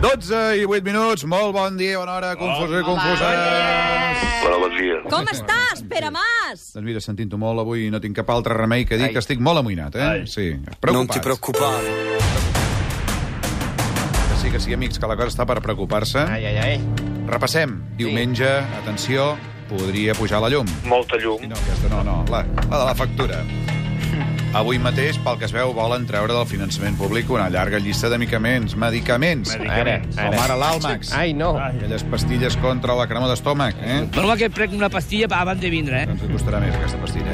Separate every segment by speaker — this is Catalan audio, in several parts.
Speaker 1: 12 i 8 minuts, molt bon dia, bona hora, confusos i confuses.
Speaker 2: Hola, bon dia.
Speaker 3: Com estàs, Pere Mas?
Speaker 1: Doncs mira, sentint-ho molt avui, no tinc cap altre remei que dir
Speaker 4: Ai.
Speaker 1: que estic molt amoïnat, eh?
Speaker 5: Ai.
Speaker 1: Sí,
Speaker 4: Non ti
Speaker 1: preocupat.
Speaker 4: preoccupare.
Speaker 1: Que Sí que sí, amics, que la cosa està per preocupar-se.
Speaker 4: Ai, ai, ai.
Speaker 1: Repassem. Diumenge, atenció, podria pujar la llum.
Speaker 2: Molta llum.
Speaker 1: No, aquesta no, no, la, la de la factura. Avui mateix, pel que es veu, volen treure del finançament públic una llarga llista de medicaments, medicaments,
Speaker 4: Ara,
Speaker 1: com
Speaker 4: ara.
Speaker 1: ara l'Almax,
Speaker 4: Ai, no.
Speaker 5: Ai.
Speaker 1: aquelles pastilles contra la crema d'estómac, eh?
Speaker 6: Perdó que prec una pastilla abans de vindre, eh?
Speaker 1: Doncs et costarà més aquesta pastilla,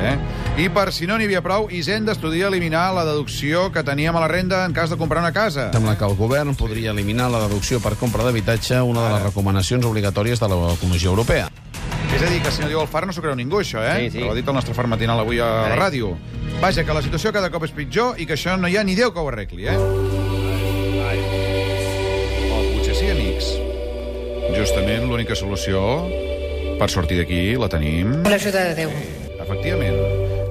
Speaker 1: eh? I per si no n'hi havia prou, Hisenda estudia eliminar la deducció que teníem a la renda en cas de comprar una casa.
Speaker 7: Sembla que el govern podria eliminar la deducció per compra d'habitatge, una de les recomanacions obligatòries de la Comissió Europea.
Speaker 1: És a dir, que si no diu el far no s'ho creu ningú, això, eh?
Speaker 4: Sí, sí.
Speaker 1: Que Ho ha dit el nostre far matinal avui a la
Speaker 4: Ai.
Speaker 1: ràdio. Vaja, que la situació cada cop és pitjor i que això no hi ha ni Déu que ho arregli, eh? O potser sí, amics. Justament l'única solució per sortir d'aquí la tenim...
Speaker 8: Amb l'ajuda de Déu.
Speaker 1: Efectivament.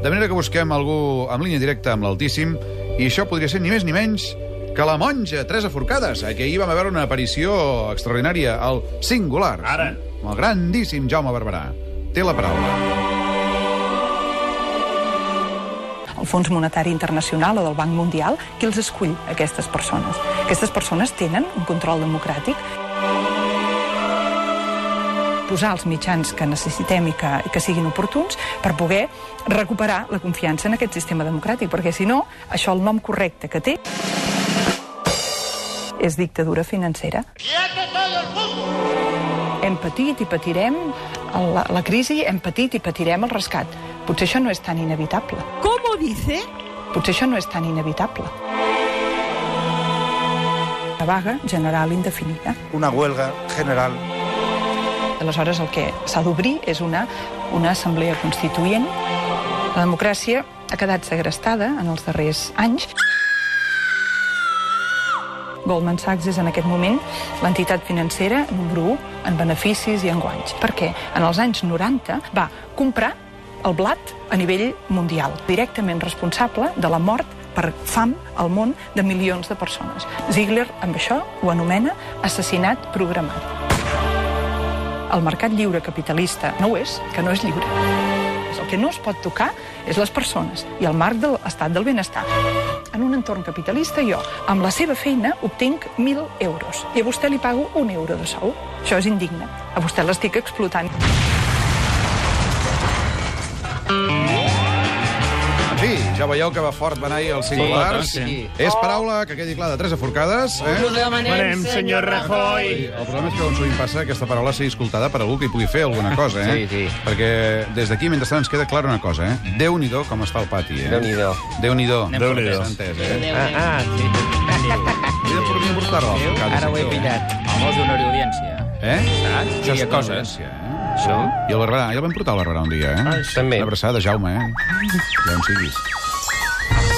Speaker 1: De manera que busquem algú en línia directa amb l'Altíssim, i això podria ser ni més ni menys que la monja Teresa Forcades, a qui ahir vam veure una aparició extraordinària al singular.
Speaker 5: Ara.
Speaker 1: Amb el grandíssim Jaume Barberà. Té la paraula.
Speaker 9: el Fons Monetari Internacional o del Banc Mundial, qui els escull, aquestes persones. Aquestes persones tenen un control democràtic. Posar els mitjans que necessitem i que, i que siguin oportuns per poder recuperar la confiança en aquest sistema democràtic, perquè si no, això el nom correcte que té és dictadura financera. Hem patit i patirem la, la crisi, hem patit i patirem el rescat. Potser això no és tan inevitable.
Speaker 3: Com ho dice?
Speaker 9: Potser això no és tan inevitable. Una vaga general indefinida.
Speaker 10: una huelga general.
Speaker 9: Aleshores, el que s'ha d'obrir és una, una assemblea constituent. La democràcia ha quedat segrestada en els darrers anys. Goldman Sachs és en aquest moment l'entitat financera número 1 en beneficis i en guanys, perquè en els anys 90 va comprar el blat a nivell mundial, directament responsable de la mort per fam al món de milions de persones. Ziegler amb això ho anomena assassinat programat el mercat lliure capitalista no ho és, que no és lliure. El que no es pot tocar és les persones i el marc de l'estat del benestar. En un entorn capitalista, jo, amb la seva feina, obtinc 1.000 euros i a vostè li pago un euro de sou. Això és indigne. A vostè l'estic explotant.
Speaker 1: En fi, ja veieu que va fort va anar ahir al singular.
Speaker 6: Sí, sí.
Speaker 1: És paraula que quedi clar de Teresa Forcades. Eh?
Speaker 5: Venem, senyor Rajoy.
Speaker 1: El problema és que on sovint passa aquesta paraula sigui escoltada per algú que hi pugui fer alguna cosa, eh?
Speaker 4: Sí, sí.
Speaker 1: Perquè des d'aquí, mentrestant, ens queda clara una cosa, eh? Déu-n'hi-do com està el pati, eh?
Speaker 4: Déu-n'hi-do.
Speaker 1: Déu-n'hi-do.
Speaker 5: Déu-n'hi-do.
Speaker 1: S'ha entès, eh?
Speaker 4: Ah, ah, sí.
Speaker 1: Podríem podríem portar-la. al mercat,
Speaker 4: Ara ho he
Speaker 1: senyor, eh?
Speaker 4: pillat. Ah,
Speaker 6: Vamos a una audiència.
Speaker 1: Eh?
Speaker 6: Saps?
Speaker 1: Això és
Speaker 6: Diria coses.
Speaker 1: tendència, eh?
Speaker 4: Això?
Speaker 1: I el Barberà, ja el vam portar a Barberà un dia, eh?
Speaker 4: Ah, també.
Speaker 1: Una abraçada, Jaume, eh? Ja en siguis.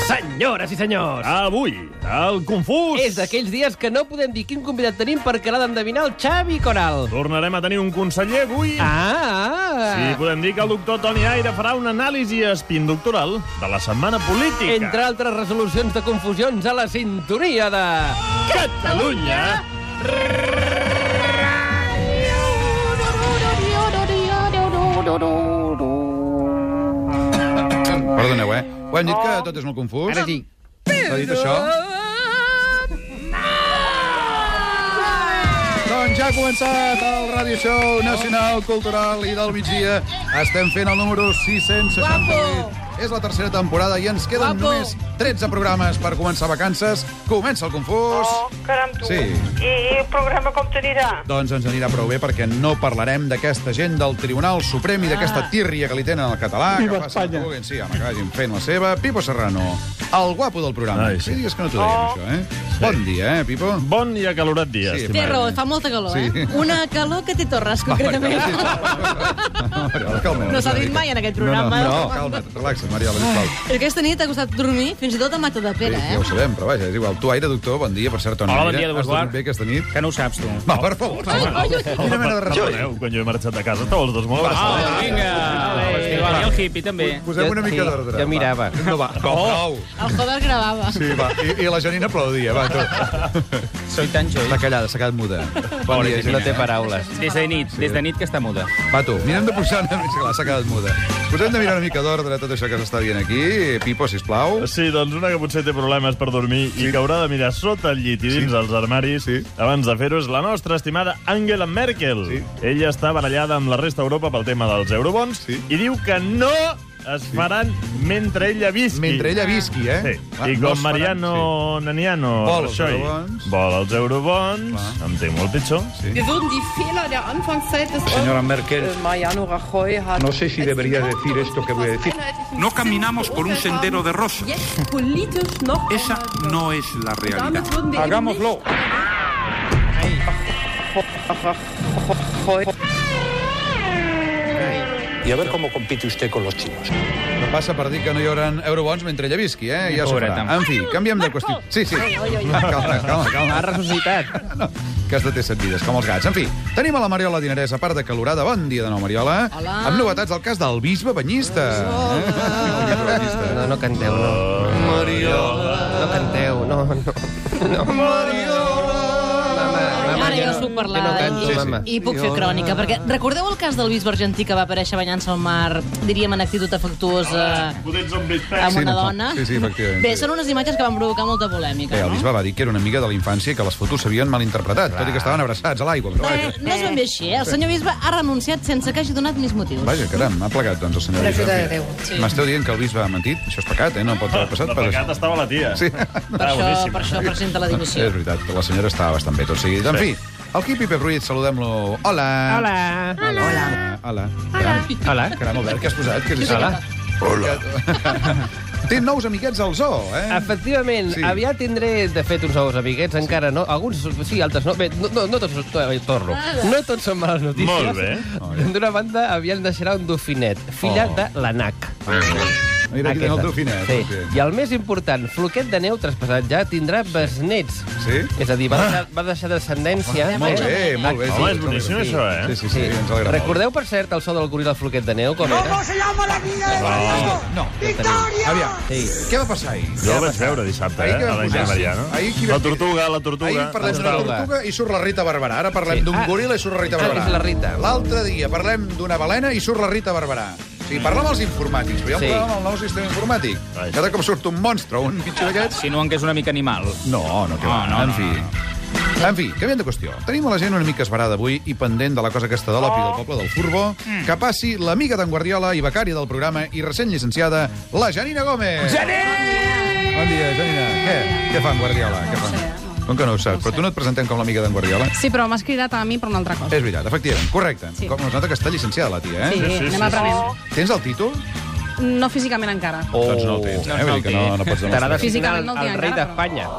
Speaker 6: Senyores i senyors,
Speaker 5: Avui, el confús.
Speaker 4: És d'aquells dies que no podem dir quin convidat tenim perquè l'ha d'endevinar el Xavi Coral.
Speaker 5: Tornarem a tenir un conseller avui.
Speaker 4: Ah, ah,
Speaker 5: Sí, podem dir que el doctor Toni Aire farà una anàlisi espinductoral de la setmana política.
Speaker 4: Entre altres resolucions de confusions a la sintonia de...
Speaker 5: Catalunya!
Speaker 1: Perdoneu, eh? Ho hem dit que tot és molt confús.
Speaker 4: Oh. Ara sí.
Speaker 1: S'ha dit això?
Speaker 6: Ah,
Speaker 1: Doncs ja ha començat el Radio Show Nacional Cultural i del migdia. Estem fent el número 668. És la tercera temporada i ens queden
Speaker 3: Guapo.
Speaker 1: només 13 programes per començar vacances. Comença el confús.
Speaker 8: Oh,
Speaker 4: Oh.
Speaker 8: caram, tu.
Speaker 1: Sí.
Speaker 8: I, I el programa com t'anirà?
Speaker 1: Doncs ens anirà prou bé perquè no parlarem d'aquesta gent del Tribunal Suprem i
Speaker 4: Ah.
Speaker 1: d'aquesta tírria que li tenen al català. Viva que Espanya. Que vulguin. sí, home, que vagin fent la seva. Pipo Serrano, el guapo del programa.
Speaker 5: Ai, sí.
Speaker 1: Feia dies que no t'ho dèiem,
Speaker 4: Oh.
Speaker 1: això, eh? Bon dia, eh, Pipo?
Speaker 5: Bon i acalorat dia,
Speaker 1: Sí.
Speaker 5: sí.
Speaker 3: Té
Speaker 5: estimat.
Speaker 3: raó, fa molta calor,
Speaker 1: Sí.
Speaker 3: eh? Una calor que té torres, concretament.
Speaker 1: Mariola, calma't.
Speaker 3: No s'ha dit mai en aquest programa.
Speaker 1: No, no, no calma't, relaxa't, Mariola, sisplau.
Speaker 3: Aquesta nit ha costat dormir fins i tot a Mata de
Speaker 1: Sí,
Speaker 3: Pere,
Speaker 1: ja ho
Speaker 3: eh?
Speaker 1: sabem, però vaja, és igual. Tu, Aire, doctor, bon dia, per cert, Toni.
Speaker 6: Hola, bon dia,
Speaker 1: Aire. Has
Speaker 6: Eduard.
Speaker 1: dormit bé aquesta nit?
Speaker 6: Que no ho saps, tu.
Speaker 1: Va, per favor.
Speaker 3: Ai, ai, ai.
Speaker 1: Quina mena de
Speaker 3: eh?
Speaker 4: Ah.
Speaker 5: Perdoneu, quan jo he marxat de casa, estàveu els dos molt abraçats.
Speaker 6: Vinga,
Speaker 1: Estic
Speaker 6: també, va, i el hippie, també.
Speaker 1: Posem una
Speaker 4: Jo-
Speaker 1: mica
Speaker 4: sí,
Speaker 1: d'ordre.
Speaker 4: jo
Speaker 1: va.
Speaker 4: mirava.
Speaker 1: No, va. Oh.
Speaker 3: El Joder gravava.
Speaker 1: Sí, va. I, I la Janina aplaudia, va, tu.
Speaker 6: Soy tan joy.
Speaker 1: Està callada, s'ha quedat muda. Bon dia,
Speaker 4: No
Speaker 1: Janina.
Speaker 4: té paraules.
Speaker 6: Des de nit, des de nit que està muda.
Speaker 1: Va, tu, mirem de posar una mica... Clar, s'ha quedat muda. Posem de mirar una mica d'ordre a tot això que s'està dient aquí. Pipo, sisplau.
Speaker 5: Sí, doncs una que potser té problemes per dormir sí. i que haurà de mirar sota el llit i dins
Speaker 1: Sí.
Speaker 5: sí. els armaris
Speaker 1: Sí.
Speaker 5: abans de fer-ho és la nostra estimada Angela Merkel.
Speaker 1: Sí.
Speaker 5: Ella està barallada amb la resta d'Europa pel tema dels eurobons
Speaker 1: Sí.
Speaker 5: i diu que no es faran mentre ella visqui.
Speaker 1: Mentre ella visqui, eh?
Speaker 5: Sí.
Speaker 1: Clar,
Speaker 5: I
Speaker 1: no
Speaker 5: com
Speaker 1: es faran-
Speaker 5: Mariano Naniano
Speaker 1: Vol els
Speaker 5: Rajoy
Speaker 1: eurobons.
Speaker 5: vol els eurobons,
Speaker 1: Clar.
Speaker 5: em té molt pitjor.
Speaker 1: Sí.
Speaker 2: Wir würden die Fehler der Anfangszeit des
Speaker 10: Señora Merkel,
Speaker 2: Euro- Mariano Rajoy hat
Speaker 10: No sé si debería decir esto que voy a decir.
Speaker 2: No caminamos por un sendero de rosas. Politisch noch
Speaker 10: esa no es la realidad.
Speaker 2: Damit würden wir eben
Speaker 10: Hagámoslo.
Speaker 2: Rajoy.
Speaker 10: Y a ver cómo compite usted con los chinos.
Speaker 1: No passa per dir que no hi haurà eurobons mentre ella visqui, eh? Ja s'ho
Speaker 6: Pobreta.
Speaker 1: farà. En fi, canviem de qüestió. Sí, sí. Calma, calma, calma.
Speaker 4: Ha ressuscitat.
Speaker 1: No, que has de té set vides, com els gats. En fi, tenim a la Mariola Dinerès, a part de calorada. Bon dia de nou, Mariola.
Speaker 3: Hola.
Speaker 1: Amb novetats del cas del bisbe Banyista. Eh? El bisbe Banyista.
Speaker 4: No, no canteu, no. Mariola. No canteu, no, no. no.
Speaker 3: Ah,
Speaker 4: Mama, mama,
Speaker 3: Ara
Speaker 4: jo no-
Speaker 3: jo
Speaker 4: jo
Speaker 3: puc
Speaker 4: no
Speaker 3: parlar
Speaker 4: canto,
Speaker 3: i,
Speaker 4: mama.
Speaker 3: i puc fer crònica, perquè recordeu el cas del bisbe argentí que va aparèixer banyant-se al mar, diríem en actitud afectuosa,
Speaker 5: Potser ets un big
Speaker 3: amb
Speaker 1: Ah, Sí,
Speaker 3: una
Speaker 1: no,
Speaker 3: dona?
Speaker 1: sí, sí, efectivament,
Speaker 3: Bé,
Speaker 1: sí.
Speaker 3: són unes imatges que van provocar molta polèmica,
Speaker 1: Bé, Eh, el
Speaker 3: no?
Speaker 1: bisbe va dir que era una amiga de la infància i que les fotos s'havien mal interpretat, tot i que estaven abraçats a l'aigua. Però
Speaker 3: Eh,
Speaker 1: vaja,
Speaker 3: no és ben bé així, eh? El senyor bisbe ha renunciat sense que hagi donat més motius.
Speaker 1: vaja caram, ha plegat, doncs, el senyor bisbe.
Speaker 2: ajuda de Déu.
Speaker 1: Sí. M'esteu dient que el bisbe ha mentit? Això és pecat, eh? No pot haver passat
Speaker 5: De
Speaker 1: per
Speaker 5: pecat
Speaker 1: això.
Speaker 5: estava la tia.
Speaker 1: Sí.
Speaker 3: Per
Speaker 5: Ah,
Speaker 3: això,
Speaker 5: boníssim.
Speaker 3: per això presenta la
Speaker 1: És
Speaker 3: dimissió.
Speaker 1: veritat, la senyora estava bastant bé tot seguit. En fi, el Quipi Pep Ruiz, saludem-lo. Hola.
Speaker 4: Hola.
Speaker 1: Hola. Hola. Hola. Caram,
Speaker 4: Hola.
Speaker 1: caram, Albert, què has posat? Què és això?
Speaker 4: Hola.
Speaker 1: Hola. Té nous amiguets al zoo, eh?
Speaker 4: Efectivament,
Speaker 1: Sí.
Speaker 4: sí. aviat tindré, de fet, uns nous amiguets, encara no. Alguns sí, altres no. Bé, no, no, no tots, to- eh, torno. No tots són males notícies.
Speaker 5: Molt bé.
Speaker 4: D'una banda, aviat en deixarà un dofinet, filla
Speaker 1: Oh.
Speaker 4: oh. de l'ANAC.
Speaker 1: Mira, aquí tenen el
Speaker 4: Aquesta.
Speaker 1: Dauphinet.
Speaker 4: Sí. I el més important, Floquet de Neu, traspassat ja, tindrà besnets.
Speaker 1: Sí? Ah.
Speaker 4: És a dir, va deixar, va deixar descendència.
Speaker 1: Molt bé, molt bé.
Speaker 5: Home, és boníssim,
Speaker 1: sí.
Speaker 5: això, eh?
Speaker 1: Sí, sí, sí, ens agrada
Speaker 4: Recordeu, per cert, el so del goril·la del Floquet de Neu, com era?
Speaker 1: molt. No. Aviam,
Speaker 4: Sí.
Speaker 1: què va passar ahir?
Speaker 5: Jo el vaig veure dissabte, eh?
Speaker 1: Ahir què
Speaker 5: A
Speaker 1: vam
Speaker 5: la
Speaker 1: posar?
Speaker 5: Inge Mariano.
Speaker 1: Ahir qui va-
Speaker 5: La tortuga, la tortuga.
Speaker 1: Ahir parlem d'una
Speaker 4: Tortuga.
Speaker 1: tortuga i surt la Rita Barberà. Ara parlem
Speaker 4: Sí.
Speaker 1: d'un
Speaker 4: Ah.
Speaker 1: goril·la i surt la Rita
Speaker 4: Ah,
Speaker 1: Barberà.
Speaker 4: és la Rita.
Speaker 1: L'altre dia parlem d'una balena i surt la Rita Barberà. O sigui, parlem als informàtics, però hi ha un
Speaker 4: Sí.
Speaker 1: problema amb el nou sistema informàtic.
Speaker 5: Vaja.
Speaker 1: Cada cop surt un monstre, un mitjà d'aquests...
Speaker 6: Si no, que és una mica animal.
Speaker 1: No, no, que va,
Speaker 6: No, no,
Speaker 1: en
Speaker 6: no,
Speaker 1: fi. En fi, canviant de qüestió. Tenim a la gent una mica esverada avui i pendent de la cosa aquesta de l'opi del
Speaker 6: Oh.
Speaker 1: poble del Furbó,
Speaker 6: Mm.
Speaker 1: que passi l'amiga d'en Guardiola i becària del programa i recent llicenciada, la Janina Gómez. Bon dia, Janina. Què? Què fa en Guardiola? Què fa? Com que no ho saps? Però tu no et presentem com l'amiga d'en Guardiola?
Speaker 2: Sí, però m'has cridat a mi per una altra cosa.
Speaker 1: És veritat, efectivament, correcte. Com es nota que està llicenciada la tia, eh?
Speaker 5: sí, sí, aprenent.
Speaker 1: Tens el títol?
Speaker 2: No físicament encara.
Speaker 1: Oh. Doncs no el tens,
Speaker 6: Doncs
Speaker 1: eh?
Speaker 6: no
Speaker 1: Vull dir
Speaker 6: el
Speaker 1: que no,
Speaker 6: tinc.
Speaker 1: no pots
Speaker 4: T'agrada
Speaker 1: demostrar.
Speaker 4: signar
Speaker 2: Físicament
Speaker 4: el,
Speaker 2: no el tinc
Speaker 4: el rei
Speaker 2: encara,
Speaker 4: d'Espanya.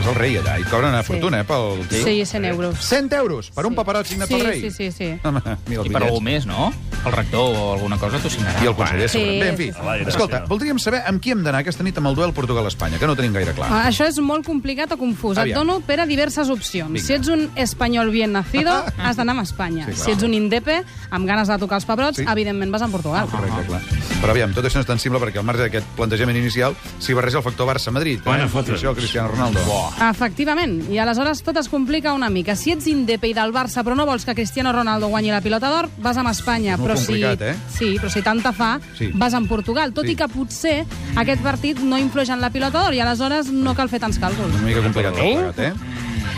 Speaker 1: És el rei allà, i cobren una fortuna, eh, pel...
Speaker 2: 100 euros.
Speaker 1: 100 euros per un paperot signat pel rei?
Speaker 2: sí.
Speaker 1: Home, mira
Speaker 6: I
Speaker 1: els
Speaker 6: per algú
Speaker 1: bitllets.
Speaker 6: més, no? El rector o alguna cosa t'ho signarà.
Speaker 1: I el conseller,
Speaker 2: Sí,
Speaker 1: segurament. Bé, en fi.
Speaker 5: sí, sí. A l'aire,
Speaker 1: Escolta,
Speaker 5: sí.
Speaker 1: voldríem saber amb qui hem d'anar aquesta nit amb el duel Portugal-Espanya, que no ho tenim gaire clar.
Speaker 2: Ah, Això és molt complicat o confús.
Speaker 1: Aviam.
Speaker 2: Et dono per a diverses opcions.
Speaker 1: Vinga.
Speaker 2: Si ets un espanyol bien nacido, has d'anar a Espanya.
Speaker 1: Sí, clar.
Speaker 2: si ets un indepe, amb ganes de tocar els pebrots,
Speaker 1: Sí.
Speaker 2: evidentment vas a Portugal.
Speaker 1: Correcte, clar. Però aviam, tot això no és tan simple perquè al marge d'aquest plantejament inicial s'hi barreja el factor Barça-Madrid.
Speaker 5: Bueno,
Speaker 1: eh?
Speaker 5: fotre'ns.
Speaker 1: Això, Cristiano Ronaldo. Bo.
Speaker 2: Efectivament, i aleshores tot es complica una mica. Si ets indepe i del Barça però no vols que Cristiano Ronaldo guanyi la pilota d'or, vas amb Espanya.
Speaker 1: És molt
Speaker 2: però
Speaker 1: complicat,
Speaker 2: si,
Speaker 1: eh?
Speaker 2: Sí, però si tanta fa,
Speaker 1: Sí.
Speaker 2: vas amb Portugal. Tot
Speaker 1: Sí.
Speaker 2: i que potser aquest partit no influeix en la pilota d'or i aleshores no cal fer tants càlculs.
Speaker 1: Una mica complicat,
Speaker 4: Eh?
Speaker 1: tot plegat, eh?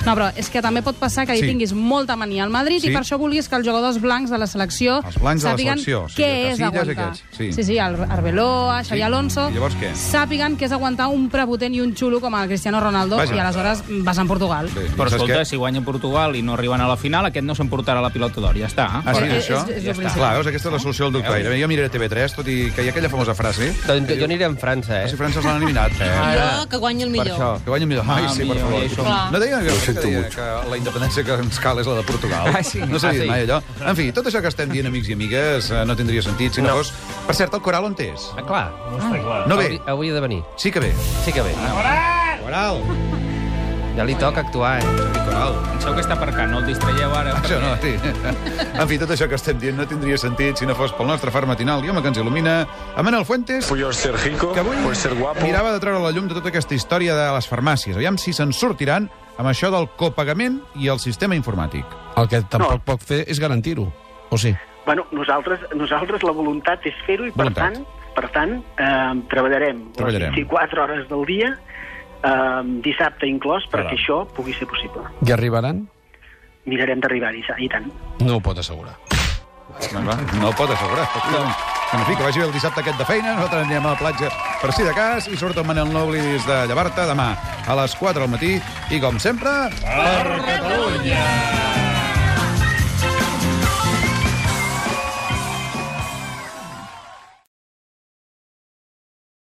Speaker 2: No, però és que també pot passar que hi
Speaker 1: Sí.
Speaker 2: tinguis molta mania al Madrid
Speaker 1: Sí.
Speaker 2: i per això vulguis que els jugadors blancs de la selecció
Speaker 1: Els blancs de la
Speaker 2: sàpiguen
Speaker 1: selecció, sí,
Speaker 2: què
Speaker 1: de
Speaker 2: és
Speaker 1: Casillas,
Speaker 2: aguantar.
Speaker 1: aquests, sí.
Speaker 2: sí, sí el Arbeloa,
Speaker 1: Sí.
Speaker 2: Xavi Alonso...
Speaker 1: I llavors què?
Speaker 2: Sàpiguen que és aguantar un prepotent i un xulo com el Cristiano Ronaldo
Speaker 1: Vaja.
Speaker 2: i aleshores vas a Portugal.
Speaker 1: Bé,
Speaker 6: Però
Speaker 1: saps
Speaker 6: escolta,
Speaker 1: què?
Speaker 6: si guanya Portugal i no arriben a la final, aquest no s'emportarà la pilota d'or, ja està.
Speaker 1: Ah, sí,
Speaker 2: Però
Speaker 1: és això?
Speaker 2: és- és
Speaker 1: Ja
Speaker 2: el
Speaker 1: està.
Speaker 2: principal.
Speaker 1: Clar, veus, aquesta és la solució del doctor Aire. Jo miraré TV3, tot i que hi ha aquella famosa frase.
Speaker 4: Doncs jo, jo aniré amb França,
Speaker 1: Eh? Si
Speaker 4: eh?
Speaker 1: França els l'han eliminat, eh?
Speaker 3: I jo, que guanyi el
Speaker 4: Per
Speaker 3: millor.
Speaker 4: això.
Speaker 1: Que guanyi millor. Ai, sí, per
Speaker 6: millor,
Speaker 1: favor.
Speaker 6: ja hi som.
Speaker 3: Clar.
Speaker 1: No deien que, que, deia que la independència que ens cal és la de Portugal.
Speaker 4: Ah, sí.
Speaker 1: No s'ha
Speaker 4: Ah,
Speaker 1: dit
Speaker 4: sí.
Speaker 1: mai allò. En fi, tot això que estem dient, amics i amigues, eh, no tindria sentit si no, fos... Per cert, el coral on és?
Speaker 4: Ah, clar.
Speaker 5: Està clar.
Speaker 1: No ve.
Speaker 4: Hauria, hauria de venir.
Speaker 1: Sí que ve.
Speaker 4: Sí que ve.
Speaker 1: Coral!
Speaker 4: Ja li toca actuar, eh?
Speaker 6: Coral, penseu que està per cá, no el distraieu ara.
Speaker 1: Això no, sí. En fi, tot això que estem dient no tindria sentit si no fos pel nostre far matinal i home que ens il·lumina, a Manel Fuentes,
Speaker 10: Puyo ser rico,
Speaker 1: que avui
Speaker 10: puyo ser guapo.
Speaker 1: mirava de treure la llum de tota aquesta història de les farmàcies. Aviam si se'n sortiran amb això del copagament i el sistema informàtic.
Speaker 7: El que tampoc no. pot fer és garantir-ho, o sí?
Speaker 11: Bueno, nosaltres, nosaltres la voluntat és fer-ho i, per
Speaker 1: Voluntat.
Speaker 11: tant, per tant eh, treballarem,
Speaker 1: Treballarem.
Speaker 11: les 24 hores del dia, eh, dissabte inclòs, perquè
Speaker 5: Caram.
Speaker 11: això pugui ser possible.
Speaker 7: I arribaran?
Speaker 11: Mirarem d'arribar-hi, i tant.
Speaker 7: No ho pot assegurar.
Speaker 1: Doncs va, no ho pot assegurar. No. En fi, que vagi bé el dissabte aquest de feina, nosaltres anirem a la platja per si de cas, i surt el Manel no oblidis de llevar-te demà a les 4 del matí, i com sempre...
Speaker 5: Per Catalunya!